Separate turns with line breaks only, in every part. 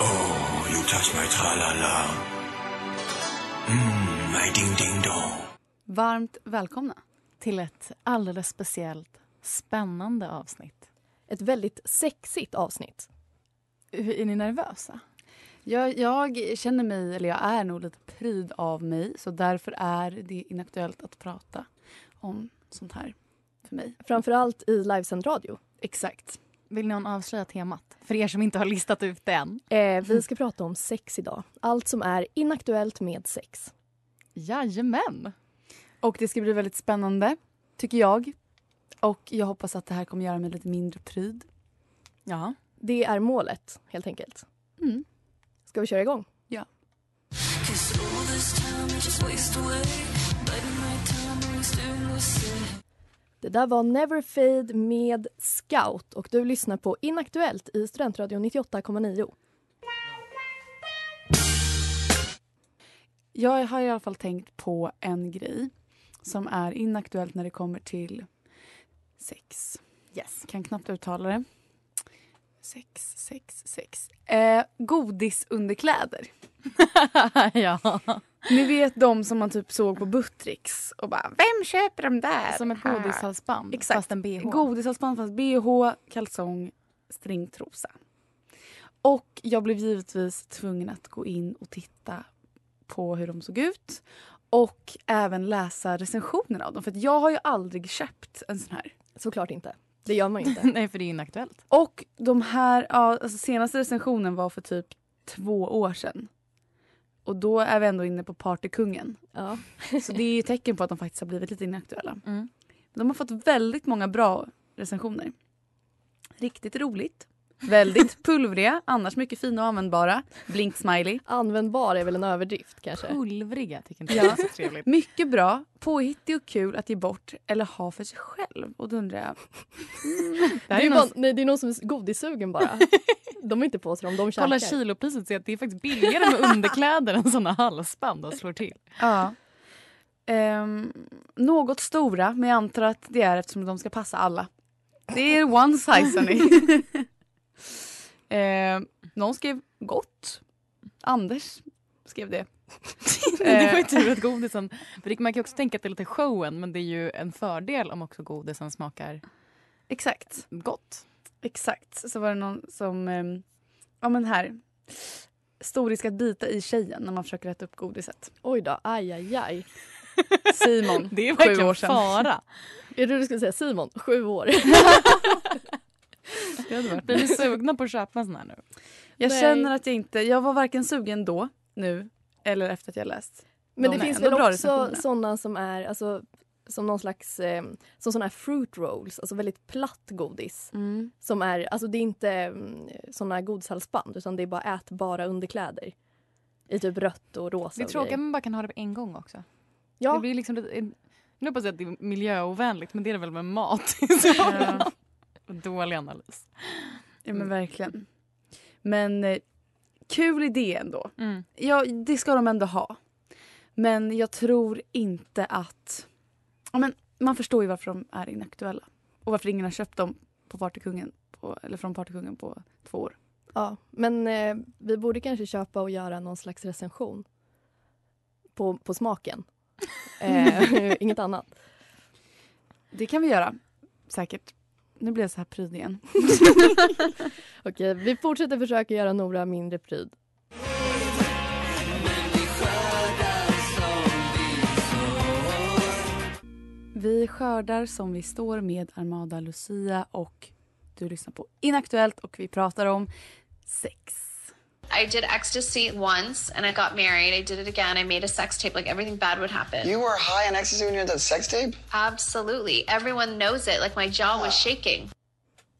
Oh, you touch my tralala. Mm, my ding ding dong.
Varmt välkomna till ett alldeles speciellt spännande avsnitt.
ett väldigt sexigt avsnitt.
Hur är ni nervösa?
Jag, jag känner mig, eller jag är nog lite pryd av mig så därför är det inaktuellt att prata om sånt här för mig.
Framförallt i livesänd radio.
Exakt.
Vill någon avslöja temat? För er som inte har listat ut det än.
Eh, vi ska prata om sex idag. Allt som är inaktuellt med sex.
Jajamän!
Och det ska bli väldigt spännande, tycker jag. Och jag hoppas att det här kommer göra mig lite mindre pryd. Ja.
Det är målet, helt enkelt.
Mm.
Ska vi köra igång? Det där var Never Fade med Scout och du lyssnar på Inaktuellt i Studentradion 98,9.
Jag har i alla fall tänkt på en grej som är inaktuellt när det kommer till sex. Yes. Kan knappt uttala det. Sex, sex, sex. Eh, godisunderkläder.
ja.
Ni vet de som man typ såg på Buttricks och bara Vem köper de där? Ah.
Som ett godishalsband
Exakt.
fast en bh.
Godishalsband fanns bh, kalsong, stringtrosa. Och jag blev givetvis tvungen att gå in och titta på hur de såg ut och även läsa recensionerna av dem. För att jag har ju aldrig köpt en sån här.
Såklart inte. Det gör man ju inte.
Nej, för det är inaktuellt.
Och de här, ja, alltså senaste recensionen var för typ två år sedan. Och då är vi ändå inne på partykungen.
Ja.
Så det är ju tecken på att de faktiskt har blivit lite inaktuella.
Mm.
De har fått väldigt många bra recensioner. Riktigt roligt. Väldigt pulvriga, annars mycket fina och användbara. Blink-smiley.
Användbar är väl en överdrift kanske.
Pulvriga tycker inte
Ja.
jag är så trevligt.
Mycket bra, påhittig och kul att ge bort eller ha för sig själv. Och då undrar jag,
Det
Det
här
är,
är
ju
någon...
bara, nej, det är någon som är godissugen bara. De är inte på sig dem, de
Kolla
käkar.
kilopriset och se att det är faktiskt billigare med underkläder än såna halsband och slår till.
ja. Ehm, något stora, men jag antar att det är eftersom de ska passa alla. Det är one size hörni. Ehm, någon skrev gott. Anders skrev det. Ehm.
det var ju tur att godisen... För det- man kan ju också tänka att det är lite showen men det är ju en fördel om också godisen smakar
Exakt.
gott.
Exakt. Så var det någon som... ehm, ja, men här. Stor risk att bita i tjejen när man försöker äta upp godiset.
Oj då, aj aj aj.
Simon,
Det är
sju
verkligen
år sedan.
fara.
Jag trodde du skulle säga Simon, sju år.
Det hade varit
Blir ni sugna på att köpa en sån här nu?
Jag
Nej.
känner att jag inte... Jag var varken sugen då, nu eller efter att jag läst.
Men
De
det
är
finns
ändå
väl
bra
också
recensioner.
sådana som är alltså, som någon slags eh, som såna här fruit rolls, alltså väldigt platt godis.
Mm.
Som är, alltså det är inte mm, såna godishalsband utan det är bara ätbara underkläder. I typ rött och rosa
Det är
och
tråkigt att
grejer.
man bara kan ha det på en gång också.
Ja,
Det blir liksom lite, nu hoppas jag att det är miljöovänligt men det är det väl med mat i så fall. Dålig analys.
Ja, men verkligen. Men eh, kul idé ändå.
Mm.
Ja, det ska de ändå ha. Men jag tror inte att... Ja, men man förstår ju varför de är inaktuella. Och varför ingen har köpt dem på Partykungen på, eller från Partykungen på två år.
ja. men eh, vi borde kanske köpa och göra någon slags recension. På, på smaken. Eh, inget annat.
Det kan vi göra. Säkert. Nu blir jag så här pryd igen.
Okej, vi fortsätter försöka göra Nora mindre pryd.
Vi skördar som vi står med Armada Lucia och du lyssnar på Inaktuellt och vi pratar om sex.
I did ecstasy once and I got married. I did it again. I made a sex tape. Like everything bad would happen.
You were high on ecstasy when you had that sex tape?
Absolutely. Everyone knows it. Like my jaw was shaking.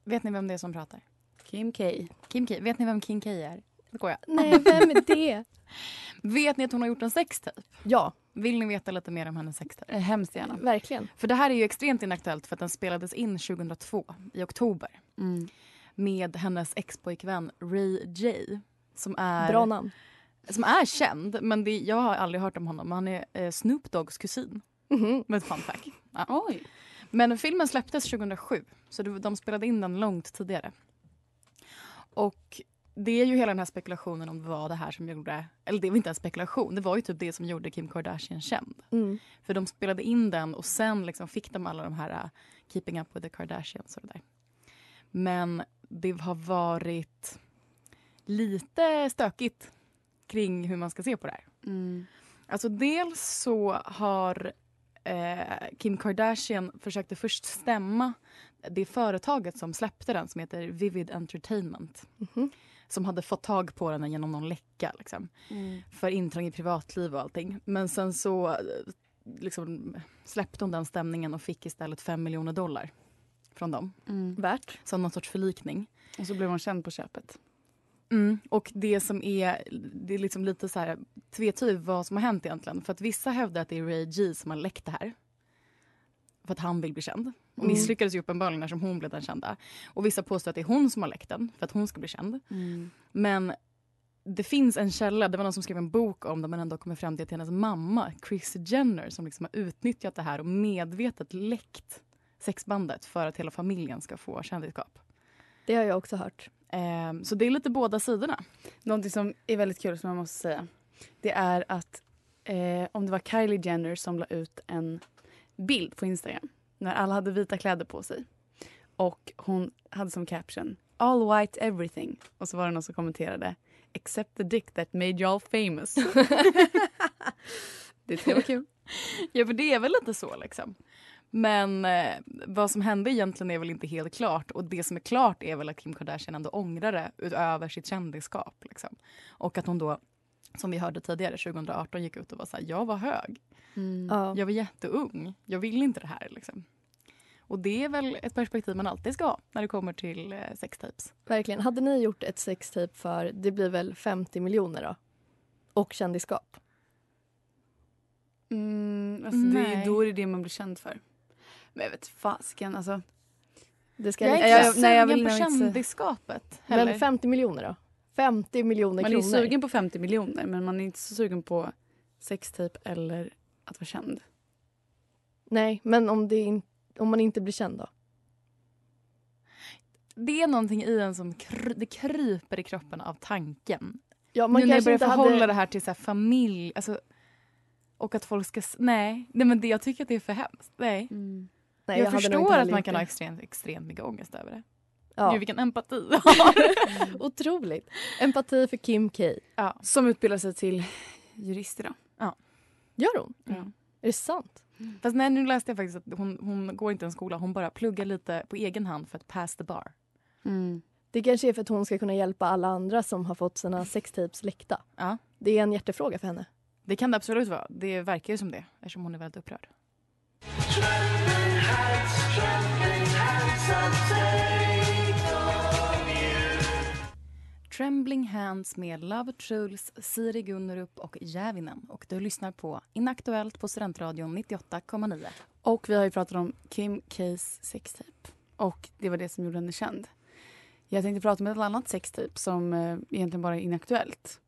Vet ni vem det är som pratar?
Kim K.
Kim K. Vet ni vem Kim K är? Då går jag.
Nej, vem är det?
Vet ni att hon har gjort en sextape?
Ja,
Vill ni veta lite mer om hennes sextape?
Eh, Hemskt gärna.
verkligen.
För det här är ju extremt inaktuellt för att den spelades in 2002 i oktober
Mm.
med hennes expojkvän Ray J som är,
Bra namn.
som är känd men det, jag har aldrig hört om honom. Han är eh, Snoop Doggs kusin.
Mhm.
Med ett fun fact. Ja.
Oj.
Men filmen släpptes 2007, så det- de spelade in den långt tidigare. Och det är ju hela den här spekulationen om vad det här som gjorde... Eller det var inte en spekulation, det var ju typ det som gjorde Kim Kardashian känd.
Mm.
För de spelade in den och sen liksom fick de alla de här uh, Keeping Up With The Kardashians och det där. Men det har varit lite stökigt kring hur man ska se på det här.
Mm.
Alltså dels så har eh, Kim Kardashian försökte först stämma det företaget som släppte den som heter Vivid Entertainment.
Mhm.
Som hade fått tag på den genom någon läcka liksom,
Mm.
för intrång i privatliv och allting. Men sen så eh, liksom, släppte hon den stämningen och fick istället 5 miljoner dollar från dem
Mm.
Värt.
som någon sorts förlikning.
Och så blev hon känd på köpet.
Mm. Och det som är, det är liksom lite så här tvetydigt vad som har hänt egentligen. För att vissa hävdar att det är Ray G som har läckt det här. För att han vill bli känd. Och misslyckades ju uppenbarligen som hon blev den kända. Och vissa påstår att det är hon som har läckt den för att hon ska bli känd.
Mm.
Men det finns en källa, det var någon som skrev en bok om det men ändå kommer fram till att hennes mamma, Chris Jenner, som liksom har utnyttjat det här och medvetet läckt sexbandet för att hela familjen ska få kändisskap.
Det har jag också hört.
Ehm, så det är lite båda sidorna.
Någonting som är väldigt kul som jag måste säga. Det är att eh, om det var Kylie Jenner som la ut en bild på Instagram när alla hade vita kläder på sig. Och hon hade som caption All white everything. Och så var det någon som kommenterade Except the dick that made you all famous. det tycker jag var kul.
Ja, för det är väl lite så liksom. Men eh, vad som hände egentligen är väl inte helt klart. Och det som är klart är väl att Kim Kardashian ändå ångrar det utöver sitt kändisskap. Liksom. Och att hon då, som vi hörde tidigare, 2018 gick ut och var så här, jag var hög.
Ja.
Jag var jätteung. Jag vill inte det här liksom. Och det är väl ett perspektiv man alltid ska ha när det kommer till eh, sextapes.
Verkligen. Hade ni gjort ett sextape för, det blir väl 50 miljoner då? Och kändisskap.
Mm, alltså det är,
Nej.
ju- då är det det man blir känd för. Men jag vet fasiken alltså.
Det ska
Jag är
lite-
inte
jag-
sugen
nej, jag vill
på
nog inte säga.
kändisskapet. heller.
Men 50 miljoner då? 50 miljoner
Man är
kronor.
ju sugen på 50 miljoner men man är inte så sugen på sextape eller att vara känd.
Nej, men om, det in, om man inte blir känd då?
Det är någonting i en som kr- det kryper i kroppen av tanken
Ja, man
nu när jag
kanske
börjar
inte
förhålla
hade...
det här till så här familj alltså, och att folk ska... s- Nej, nej men det, jag tycker att det är för hemskt. Nej.
Nej,
jag,
hade nog
förstår
inte
att
heller
man
gjort
kan
det.
ha extremt, extremt mycket ångest över det.
Ja.
Gud, vilken empati jag har.
Otroligt. Empati för Kim K.
Som utbildar sig till jurist idag.
Gör hon?
Ja.
Är det sant?
Fast nej, nu läste jag faktiskt att hon, hon går inte en skola. Hon bara pluggar lite på egen hand för att pass the bar.
Det kanske är för att hon ska kunna hjälpa alla andra som har fått sina sextapes läckta.
Ja.
Det är en hjärtefråga för henne.
Det kan det absolut vara. Det verkar ju som det eftersom hon är väldigt upprörd. Trembling Hands med Love Truls, Siri Gunnerup och Jävinen. Och du lyssnar på Inaktuellt på Studentradion 98,9.
Och vi har ju pratat om Kim K's sextape. Och det var det som gjorde henne känd. Jag tänkte prata om ett annat sextape som eh, egentligen bara är inaktuellt.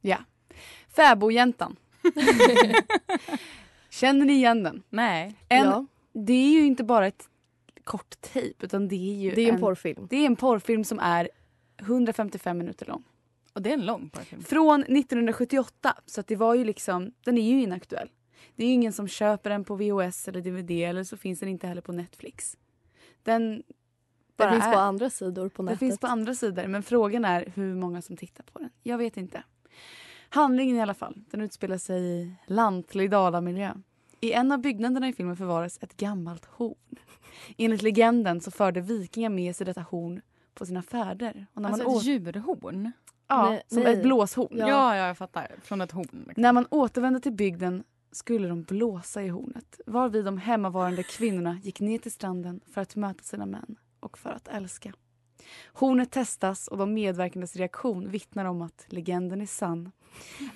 Ja. Fäbodjäntan. Känner ni igen den?
Nej.
En,
ja,
Det är ju inte bara ett kort tejp utan det är ju
det är en porrfilm.
det är en porrfilm som är 155 minuter lång.
Och det är en lång parfym.
Från 1978, så att det var ju liksom, den är ju inaktuell. Det är ju ingen som köper den på VHS eller DVD eller så finns den inte heller på Netflix. Den bara
Det finns
är.
på andra sidor på
Den
nätet.
finns på andra sidor, men frågan är hur många som tittar på den. Jag vet inte. Handlingen i alla fall, den utspelar sig i lantlig dalamiljö. I en av byggnaderna i filmen förvaras ett gammalt horn. Enligt legenden så förde vikingar med sig detta horn på sina färder. Och när man
Alltså
å-
ett djurhorn?
ja,
Nej,
som
nej.
ett blåshorn.
Ja.
ja, jag fattar. Från ett horn. liksom.
När man återvände till bygden skulle de blåsa i hornet varvid de hemmavarande kvinnorna gick ner till stranden för att möta sina män och för att älska. Hornet testas och de medverkandes reaktion vittnar om att legenden är sann.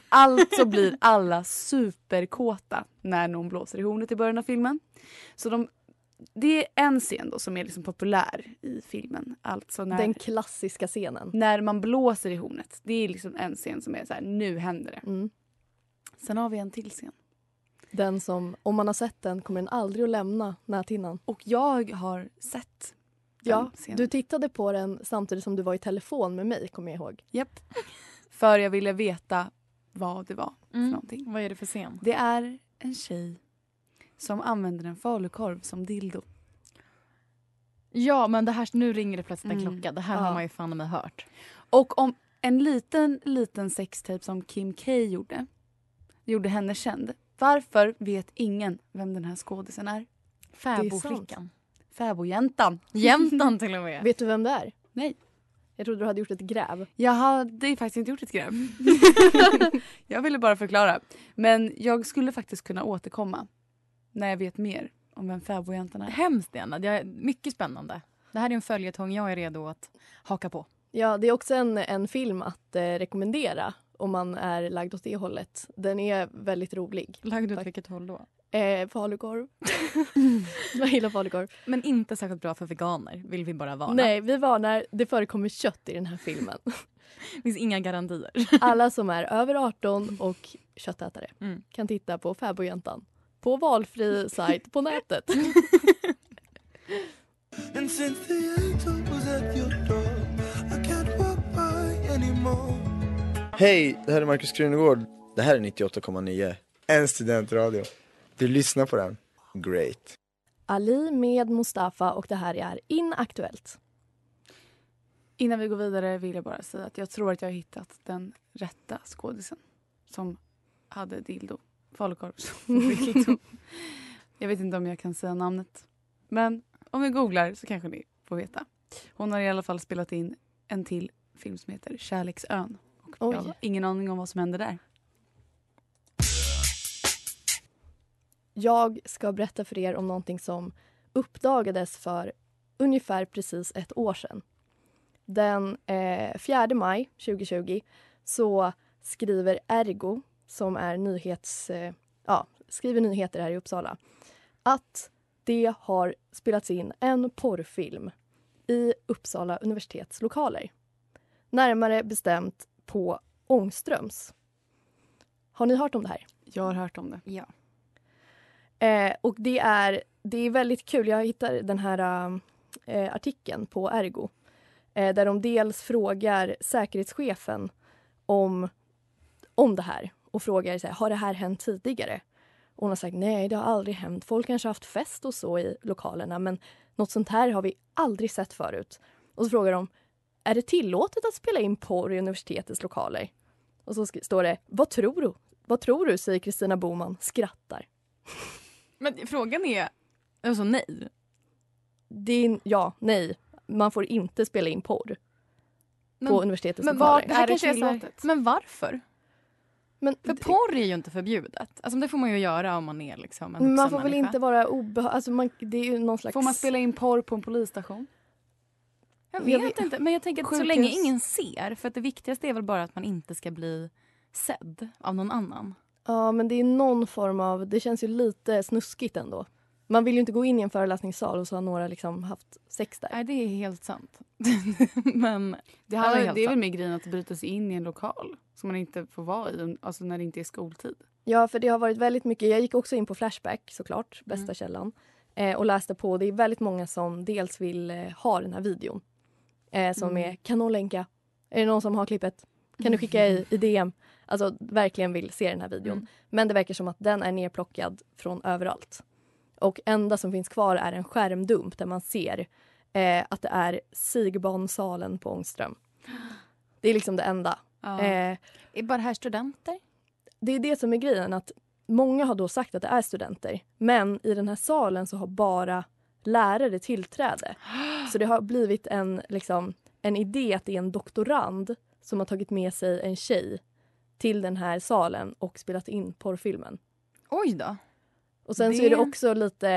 Alltså blir alla superkåta när någon blåser i hornet i början av filmen. Så de, det är en scen då som är liksom populär i filmen. Alltså när,
Den klassiska scenen.
när man blåser i hornet. Det är liksom en scen som är så här, nu händer det.
Mm.
Sen har vi en till scen.
Den som, om man har sett den, kommer den aldrig att lämna näthinnan.
Och jag har sett den
Ja,
scenen.
du tittade på den samtidigt som du var i telefon med mig, kommer jag ihåg.
Japp. För jag ville veta vad det var för
Mm.
någonting.
Vad är det för scen?
Det är en tjej som använder en falukorv som dildo.
Ja, men det här, nu ringer det plötsligt en
Mm.
klocka. Det här
Ja.
har man ju fan i mig hört.
Och om en liten, liten sextape som Kim K gjorde, gjorde henne känd. Varför vet ingen vem den här skådisen är?
Fäbodflickan.
sant.
Fäbodjäntan.
Jämtan till och med.
Vet du vem det är?
Nej.
Jag trodde du hade gjort ett gräv.
Jag hade ju faktiskt inte gjort ett gräv. jag ville bara förklara. Men jag skulle faktiskt kunna återkomma när jag vet mer om vem fäbodjäntan är.
Hemskt Diana, det är mycket spännande. Det här är en följetong jag är redo att haka på.
Ja, det är också en, en film att eh, rekommendera om man är lagd åt det hållet. Den är väldigt rolig.
Lagd
Tack.
åt vilket håll då?
Eh, falukorv. Jag gillar falukorv.
Men inte särskilt bra för veganer, vill vi bara varna.
Nej, vi varnar. Det förekommer kött i den här filmen.
Det finns inga garantier.
Alla som är över 18 och köttätare
Mm.
kan titta på Fäbodjäntan på valfri sajt på nätet.
And since the angel was at your door, I can't walk by anymore.
Hej, det här är Markus Krunegård. Det här är 98,9. En studentradio. Du lyssnar på den. Great.
Ali med Mustafa och det här är Inaktuellt.
Innan vi går vidare vill jag bara säga att jag tror att jag har hittat den rätta skådisen som hade dildo. Falukorv som dildo. jag vet inte om jag kan säga namnet. Men om vi googlar så kanske ni får veta. Hon har i alla fall spelat in en till film som heter Kärleksön. Och
Oj.
jag har ingen aning om vad som händer där.
Jag ska berätta för er om någonting som uppdagades för ungefär precis ett år sedan. Den eh, 4 maj 2020 så skriver Ergo, som är nyhets, eh, ja, skriver nyheter här i Uppsala att det har spelats in en porrfilm i Uppsala universitets lokaler. Närmare bestämt på Ångströms. Har ni hört om det här?
Jag har hört om det.
Eh, och det är, det är väldigt kul. Jag hittar den här eh, artikeln på Ergo eh, där de dels frågar säkerhetschefen om, om det här och frågar så här, har det här hänt tidigare. Och hon har sagt nej, det har aldrig hänt. Folk kanske har haft fest och så i lokalerna men något sånt här har vi aldrig sett förut. Och så frågar de är det tillåtet att spela in porr i universitetets lokaler? Och så sk- står det vad tror du? Vad tror du? säger Kristina Boman, skrattar.
Men frågan är, alltså nej.
Det är, ja, nej. Man får inte spela in porr
Men,
på universitetets
men, var,
lokaler.
det här
Är det
kanske är så här,
tillåtet?
men varför?
Men,
För
det-
porr är ju inte förbjudet. Alltså det får man ju göra om man är liksom en vuxen
man får väl
människa.
inte vara obehaglig. Alltså man, det är ju någon slags...
Får man spela in porr på en polisstation?
Jag
Jag
vet,
vet-
inte, men jag tänker att
Sjukhus.
så länge ingen ser, för att det viktigaste är väl bara att man inte ska bli sedd av någon annan.
Ja, men det är någon form av... Det känns ju lite snuskigt ändå. Man vill ju inte gå in i en föreläsningssal och så har några liksom haft sex där.
Nej, det är helt sant. men
Det,
Ja, det är
här,
helt
det är väl
sant.
mer grejen att bryta sig in i en lokal som man inte får vara i alltså när det inte är skoltid.
Ja, för det har varit väldigt mycket. Jag gick också in på Flashback såklart, bästa källan. Eh, och läste på. Det är väldigt många som dels vill eh, ha den här videon. Eh, som är, kan någon länka? Är det någon som har klippet? Kan du skicka i, i DM? Alltså verkligen vill se den här videon. Men det verkar som att den är nerplockad från överallt. Och enda som finns kvar är en skärmdump där man ser eh, att det är Sigbansalen på Ångström. Det är liksom det enda.
Ja.
Eh,
Är bara här studenter?
det är det som är grejen. att Många har då sagt att det är studenter men i den här salen så har bara lärare tillträde. Så det har blivit en, liksom, en idé att det är en doktorand som har tagit med sig en tjej till den här salen och spelat in porrfilmen.
Oj då.
Och sen så
Det-
är det också lite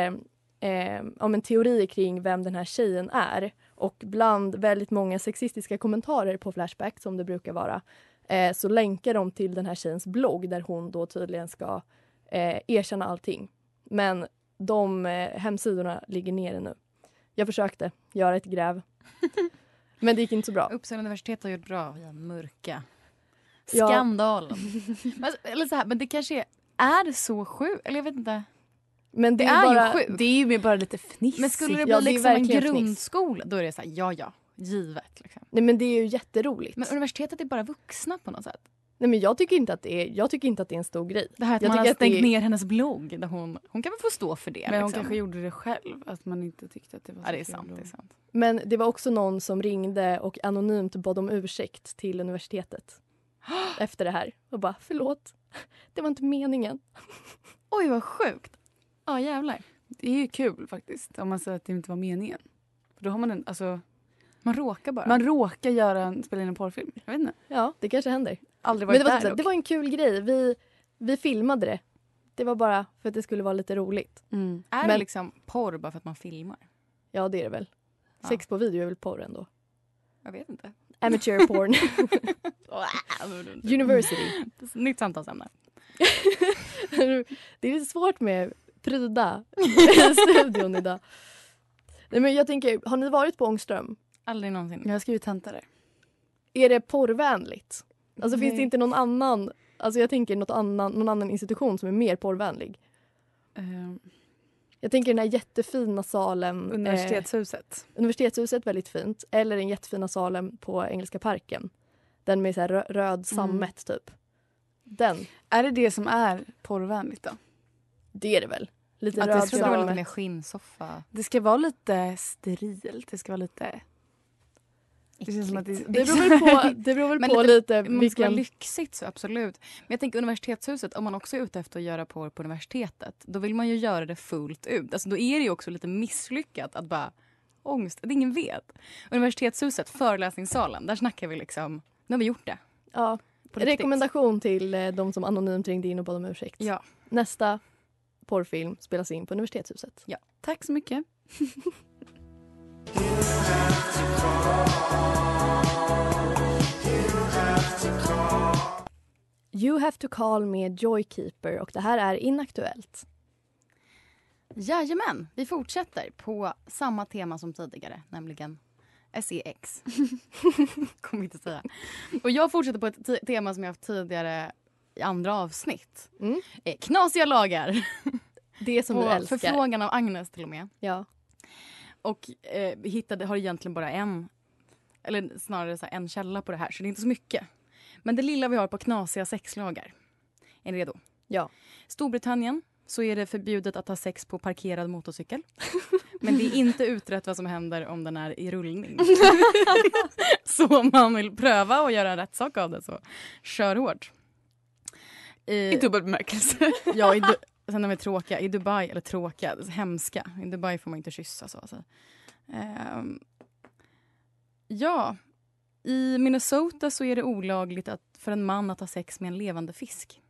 eh, om en teori kring vem den här tjejen är. Och bland väldigt många sexistiska kommentarer på Flashback som det brukar vara eh, så länkar de till den här tjejens blogg där hon då tydligen ska eh, erkänna allting. Men de eh, hemsidorna ligger nere nu. Jag försökte göra ett gräv. Men det gick inte så bra.
Uppsala universitet har gjort bra via mörka.
Ja.
Skandalen. men, eller så här, men det kanske är, är det så sjukt. Eller jag vet inte.
Men
Det,
det,
är,
bara,
ju sjukt.
Det är ju mer bara lite fnissigt.
Men skulle det bli
Ja, det är
liksom en
verkligen fniss.
grundskola, då är det så här, ja ja, givet. Liksom.
Nej men det är ju jätteroligt.
Men universitetet är bara vuxna på något sätt.
Nej men jag tycker inte att det är, jag tycker inte att det är en stor grej.
Det här att
jag
man har
tycker att det
stängt
är-
ner hennes blogg. Där hon, hon kan väl få stå för det.
Men hon
liksom.
kanske gjorde det själv. Att man inte tyckte att det var så
Ja, det är
kul
sant.
och-
Det är sant.
Men det var också någon som ringde och anonymt bad om ursäkt till universitetet efter det här och bara förlåt, det var inte meningen.
Oj, vad sjukt. Ja, jävlar.
Det är ju kul faktiskt. Om man säger att det inte var meningen. För då har man en, alltså,
Man råkar bara.
man råkar göra en, spela in en porrfilm. Jag vet inte.
Ja, det kanske händer.
Aldrig
Men
varit
det var,
där
det var en kul grej. Vi, vi filmade det. Det var bara för att det skulle vara lite roligt.
dock. Mm.
är det
men-
liksom porr bara för att man filmar?
Ja, det är det väl.
Ja.
Sex på video är väl porr ändå?
Jag vet inte.
Amateur porn. University.
Nytt samtalsämne.
det är lite svårt med pryda i studion idag. Nej, men jag tänker, har ni varit på Ångström?
Aldrig någonsin.
Jag har skrivit tenta där.
Är det porrvänligt? Alltså finns
Nej.
det inte någon annan, alltså jag tänker något annan, någon annan institution som är mer porrvänlig?
Ehm,
Jag tänker den här jättefina salen.
universitetshuset.
Eh, universitetshuset, väldigt fint. Eller den jättefina salen på Engelska parken. Den med så här rö- röd sammet typ. Den,
Är det det som är porrvänligt då?
det är det väl? Lite
Att det
röd
Jag tror det var lite
sammet.
mer skinnsoffa.
Det ska vara lite sterilt. Det ska vara lite... Det känns som att det,
Det beror väl på, det beror väl
Men
på lite,
Om det ska vara
vilken...
lyxigt så absolut. Men jag tänker universitetshuset, om man också är ute efter att göra porr på universitetet, då vill man ju göra det fullt ut. Alltså då är det ju också lite misslyckat att bara ångest, att ingen vet. Universitetshuset, föreläsningssalen, där snackar vi liksom, nu har vi gjort det.
Ja,
På riktigt.
rekommendation till eh, de som anonymt ringde in och bad om ursäkt.
Ja.
Nästa porrfilm spelas in på universitetshuset.
Tack så mycket.
You have to call med Joykeeper och det här är inaktuellt.
Jajamän, vi fortsätter på samma tema som tidigare, nämligen SEX. Kommer inte säga. Och jag fortsätter på ett ti- tema som jag haft tidigare i andra avsnitt.
Mm.
Eh, knasiga lagar.
Det som
på
du älskar.
förfrågan av Agnes till och med.
Ja.
Och eh, vi hittade, har egentligen bara en, eller snarare så här, en källa på det här, så det är inte så mycket. Men det lilla vi har på knasiga sexlagar. Är ni redo?
Ja.
Storbritannien så är det förbjudet att ha sex på parkerad motorcykel. Men det är inte utrett vad som händer om den är i rullning. så om man vill pröva och göra rätt sak av det så kör hårt. Eh, I
dubbel bemärkelse.
Ja, i du- sen är vi tråkiga. I Dubai, eller tråkiga, hemska. I Dubai får man inte kyssa så. Alltså. Ehm, ja, i Minnesota så är det olagligt att, för en man att ha sex med en levande fisk.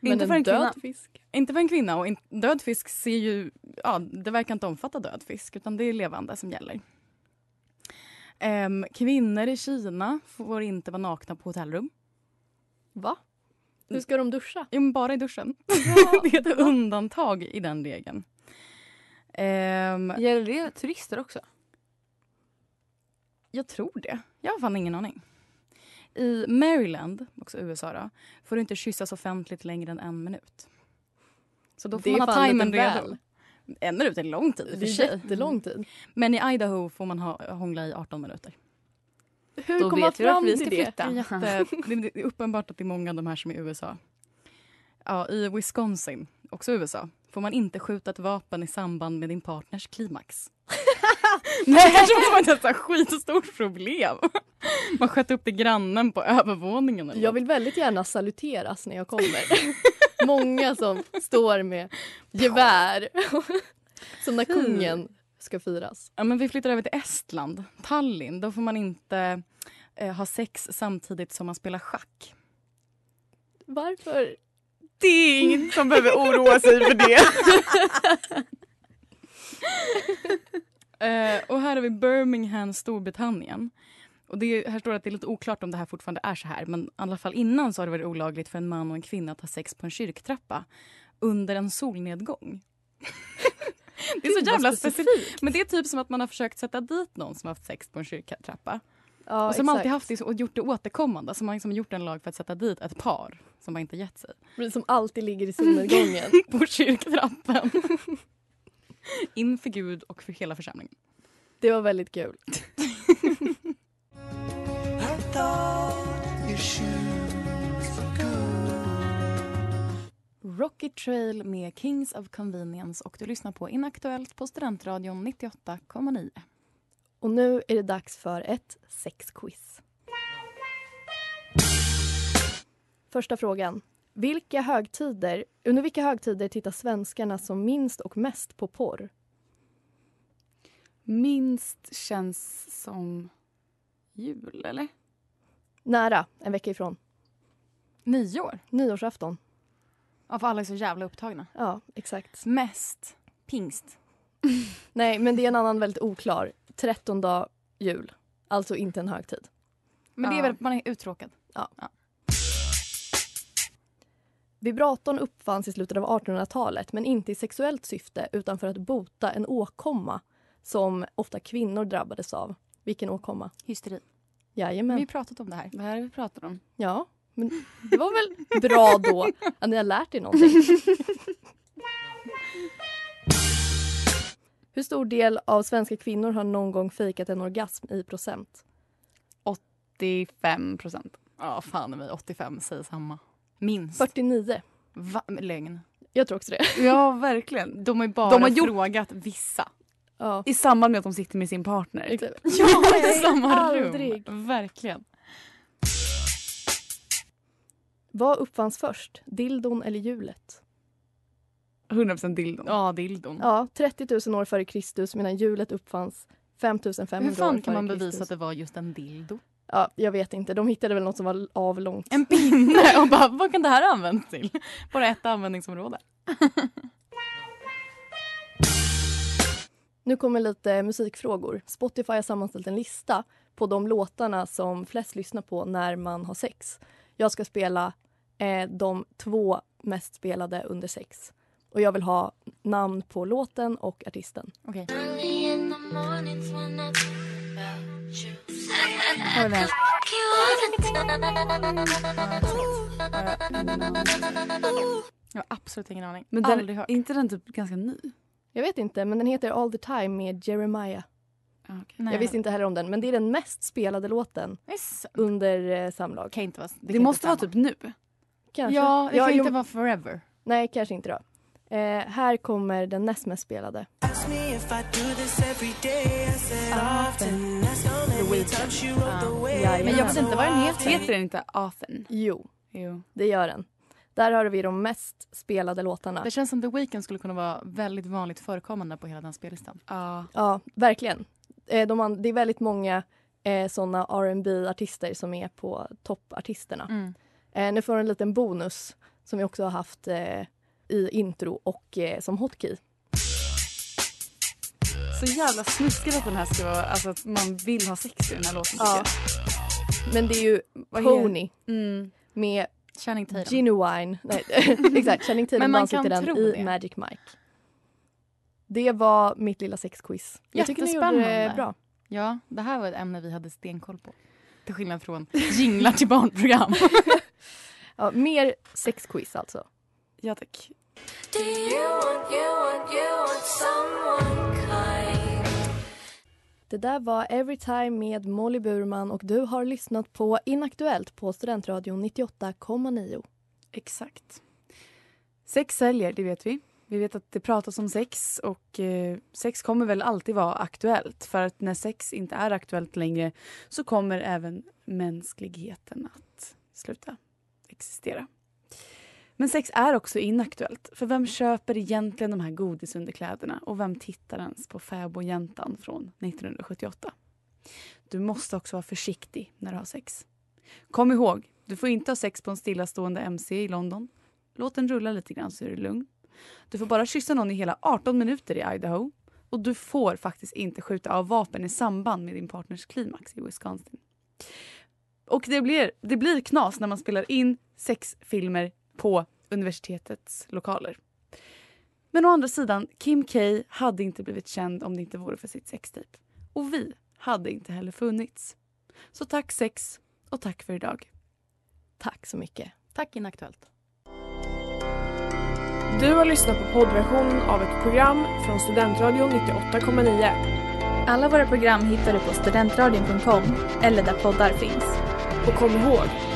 Men
inte
en
för en
död
kvinna. fisk? Inte för en kvinna. Och en död fisk ser ju, ja, det verkar inte omfatta död fisk, utan det är levande som gäller. Ehm, kvinnor i Kina får inte vara nakna på hotellrum.
Va? Hur ska de duscha?
Jo, men bara i duschen. det är ett undantag i den regeln. Ehm,
Gäller det turister också?
jag tror det. Jag har fan ingen aning. I Maryland, också USA, då, får du inte kyssas offentligt längre än en minut. Så då får
Det är
man ha
fan
timern
lite
redo.
väl.
En minut är lång tid i och
Det
för
är
sig.
jättelång tid.
Men i Idaho får man ha, hångla i 18 minuter.
Hur
Då
kom man
vet vi vart
fram
vi
till
ska
det?
flytta. Jätte- det- det är uppenbart att det är många av de här som är i USA. Ja, I Wisconsin, också USA, får man inte skjuta ett vapen i samband med din partners klimax. Men det kanske måste vara ett jävla skitstort problem. Man sköt upp till grannen på övervåningen. Eller
Jag vill väldigt gärna saluteras när jag kommer. Många som står med gevär. som när kungen ska firas.
Ja, men vi flyttar över till Estland, Tallinn. Då får man inte eh, ha sex samtidigt som man spelar schack.
Varför?
Det är ingen som behöver oroa sig för det. Eh, och här har vi Birmingham, Storbritannien. Och det är, här står det att det är lite oklart om det här fortfarande är så här. Men i alla fall innan så har det varit olagligt för en man och en kvinna att ha sex på en kyrktrappa under en solnedgång. det är
Gud,
så
vad
jävla specifikt. Men det är typ som att man har försökt sätta dit någon som har haft sex på en kyrktrappa.
Ja,
och som alltid
exakt.
haft det och gjort det återkommande. Så man har liksom gjort en lag för att sätta dit ett par som har inte gett sig.
Precis, Som alltid ligger i solnedgången.
på kyrktrappan. Inför Gud och för hela församlingen.
Det var väldigt kul.
Rocky Trail med Kings of Convenience och du lyssnar på Inaktuellt på Studentradion 98,9.
Och nu är det dags för ett sexquiz. Första frågan. Vilka högtider, under vilka högtider tittar svenskarna som minst och mest på porr?
Minst känns som jul, eller?
Nära, en vecka ifrån.
Nyår?
Nyårsafton.
Ja, för alla är så jävla upptagna.
Ja, exakt.
Mest pingst.
Nej, men det är en annan väldigt oklar. 13 dag jul. Alltså inte en högtid.
Men det är
Ja.
väl, man är uttråkad.
Vibratorn uppfanns i slutet av 1800-talet men inte i sexuellt syfte utan för att bota en åkomma som ofta kvinnor drabbades av. Vilken åkomma?
Hysteri.
Jajamän.
Vi har pratat om det här.
Vad är det vi pratar om?
Ja, men det var väl bra då att ni har lärt er någonting. Hur stor del av svenska kvinnor har någon gång fejkat en orgasm i procent?
85 procent.
Ja, fan i mig. 85 säger samma. Minst.
49.
Va? Lögn.
Jag tror också det.
Ja, verkligen.
De har ju bara
De har gjort-
frågat vissa.
Ja.
I samband med att de sitter med sin partner. typ.
exakt.
Ja,
Nej,
i samma
aldrig.
rum. Verkligen.
Vad uppfanns först? Dildon eller hjulet?
100 procent dildon.
Ja, dildon.
Ja, 30 000 år före Kristus medan hjulet uppfanns 5 500
Hur
år
fan
före
kan man bevisa
Kristus.
att det var just en dildo?
Ja, jag vet inte. De hittade väl något som var avlångt.
En pinne och bara, vad kan det här användas till? Bara ett användningsområde.
Nu kommer lite musikfrågor. Spotify har sammanställt en lista på de låtarna som flest lyssnar på när man har sex. Jag ska spela eh, de två mest spelade under sex. Och jag vill ha namn på låten och artisten.
Okej. Jag har absolut ingen aning.
Men den,
Aldrig hört.
är inte den typ ganska ny?
Jag vet inte, men den heter All the time med Jeremiah.
Ja, okej.
Nej,
jag visste inte heller om den, men det är den mest spelade låten
Det är så-
under eh, samlag.
kan inte vara...
Det,
kan
måste vara
inte stämma.
typ nu.
Kanske.
Ja, det kan
jo,
inte vara forever.
Nej, kanske inte då. Eh, här kommer den näst mest spelade.
Ah, Men jag vet inte vad den heter.
Heter den inte Athen?
Jo,
Jo.
det gör den. Där har vi de mest spelade låtarna.
Det känns som The Weeknd skulle kunna vara väldigt vanligt förekommande på hela den spellistan.
Ja.
Ja, verkligen. Eh, de an- det är väldigt många eh, såna rb artister som är på toppartisterna.
Mm.
Eh, nu får du en liten bonus som vi också har haft eh, i intro och eh, som hotkey.
Så jävla snuskigt att den här ska vara, alltså att man vill ha sex i den här låten
Ja.
tycker
Men det är ju
Vad heter-
Pony
jag. Mm.
med
Channing Tatum.
Genuine. Nej, exakt, Channing
Men
Tatum
man
dansar
kan
till den
tro
i
det.
Magic Mike. Det var mitt lilla sexquiz. Jag tycker ni gjorde det
Jättespännande.
bra.
Ja, det här var ett ämne vi hade stenkoll på. Till skillnad från jinglar till barnprogram.
Ja, mer sexquiz alltså.
Ja tack.
Det Det där var Everytime med Molly Burman och du har lyssnat på Inaktuellt på Studentradion 98,9.
Exakt. Sex säljer, det vet vi. Vi vet att det pratas om sex och eh, sex kommer väl alltid vara aktuellt. För att när sex inte är aktuellt längre så kommer även mänskligheten att sluta existera. Men sex är också inaktuellt. För vem köper egentligen de här godisunderkläderna? Och vem tittar ens på fäbodjäntan från 1978? Du måste också vara försiktig när du har sex. Kom ihåg, du får inte ha sex på en stillastående MC i London. Låt den rulla lite grann så är du lugn. Du får bara kyssa någon i hela 18 minuter i Idaho. Och du får faktiskt inte skjuta av vapen i samband med din partners klimax i Wisconsin. Och det blir, det blir knas när man spelar in sexfilmer på universitetets lokaler. Men å andra sidan, Kim K hade inte blivit känd om det inte vore för sitt sextape. Och vi hade inte heller funnits. Så tack sex och tack för idag.
Tack så mycket.
Tack Inaktuellt.
Du har lyssnat på poddversionen av ett program från Studentradion 98,9.
Alla våra program hittar du på studentradion.com eller där poddar finns.
Och kom ihåg,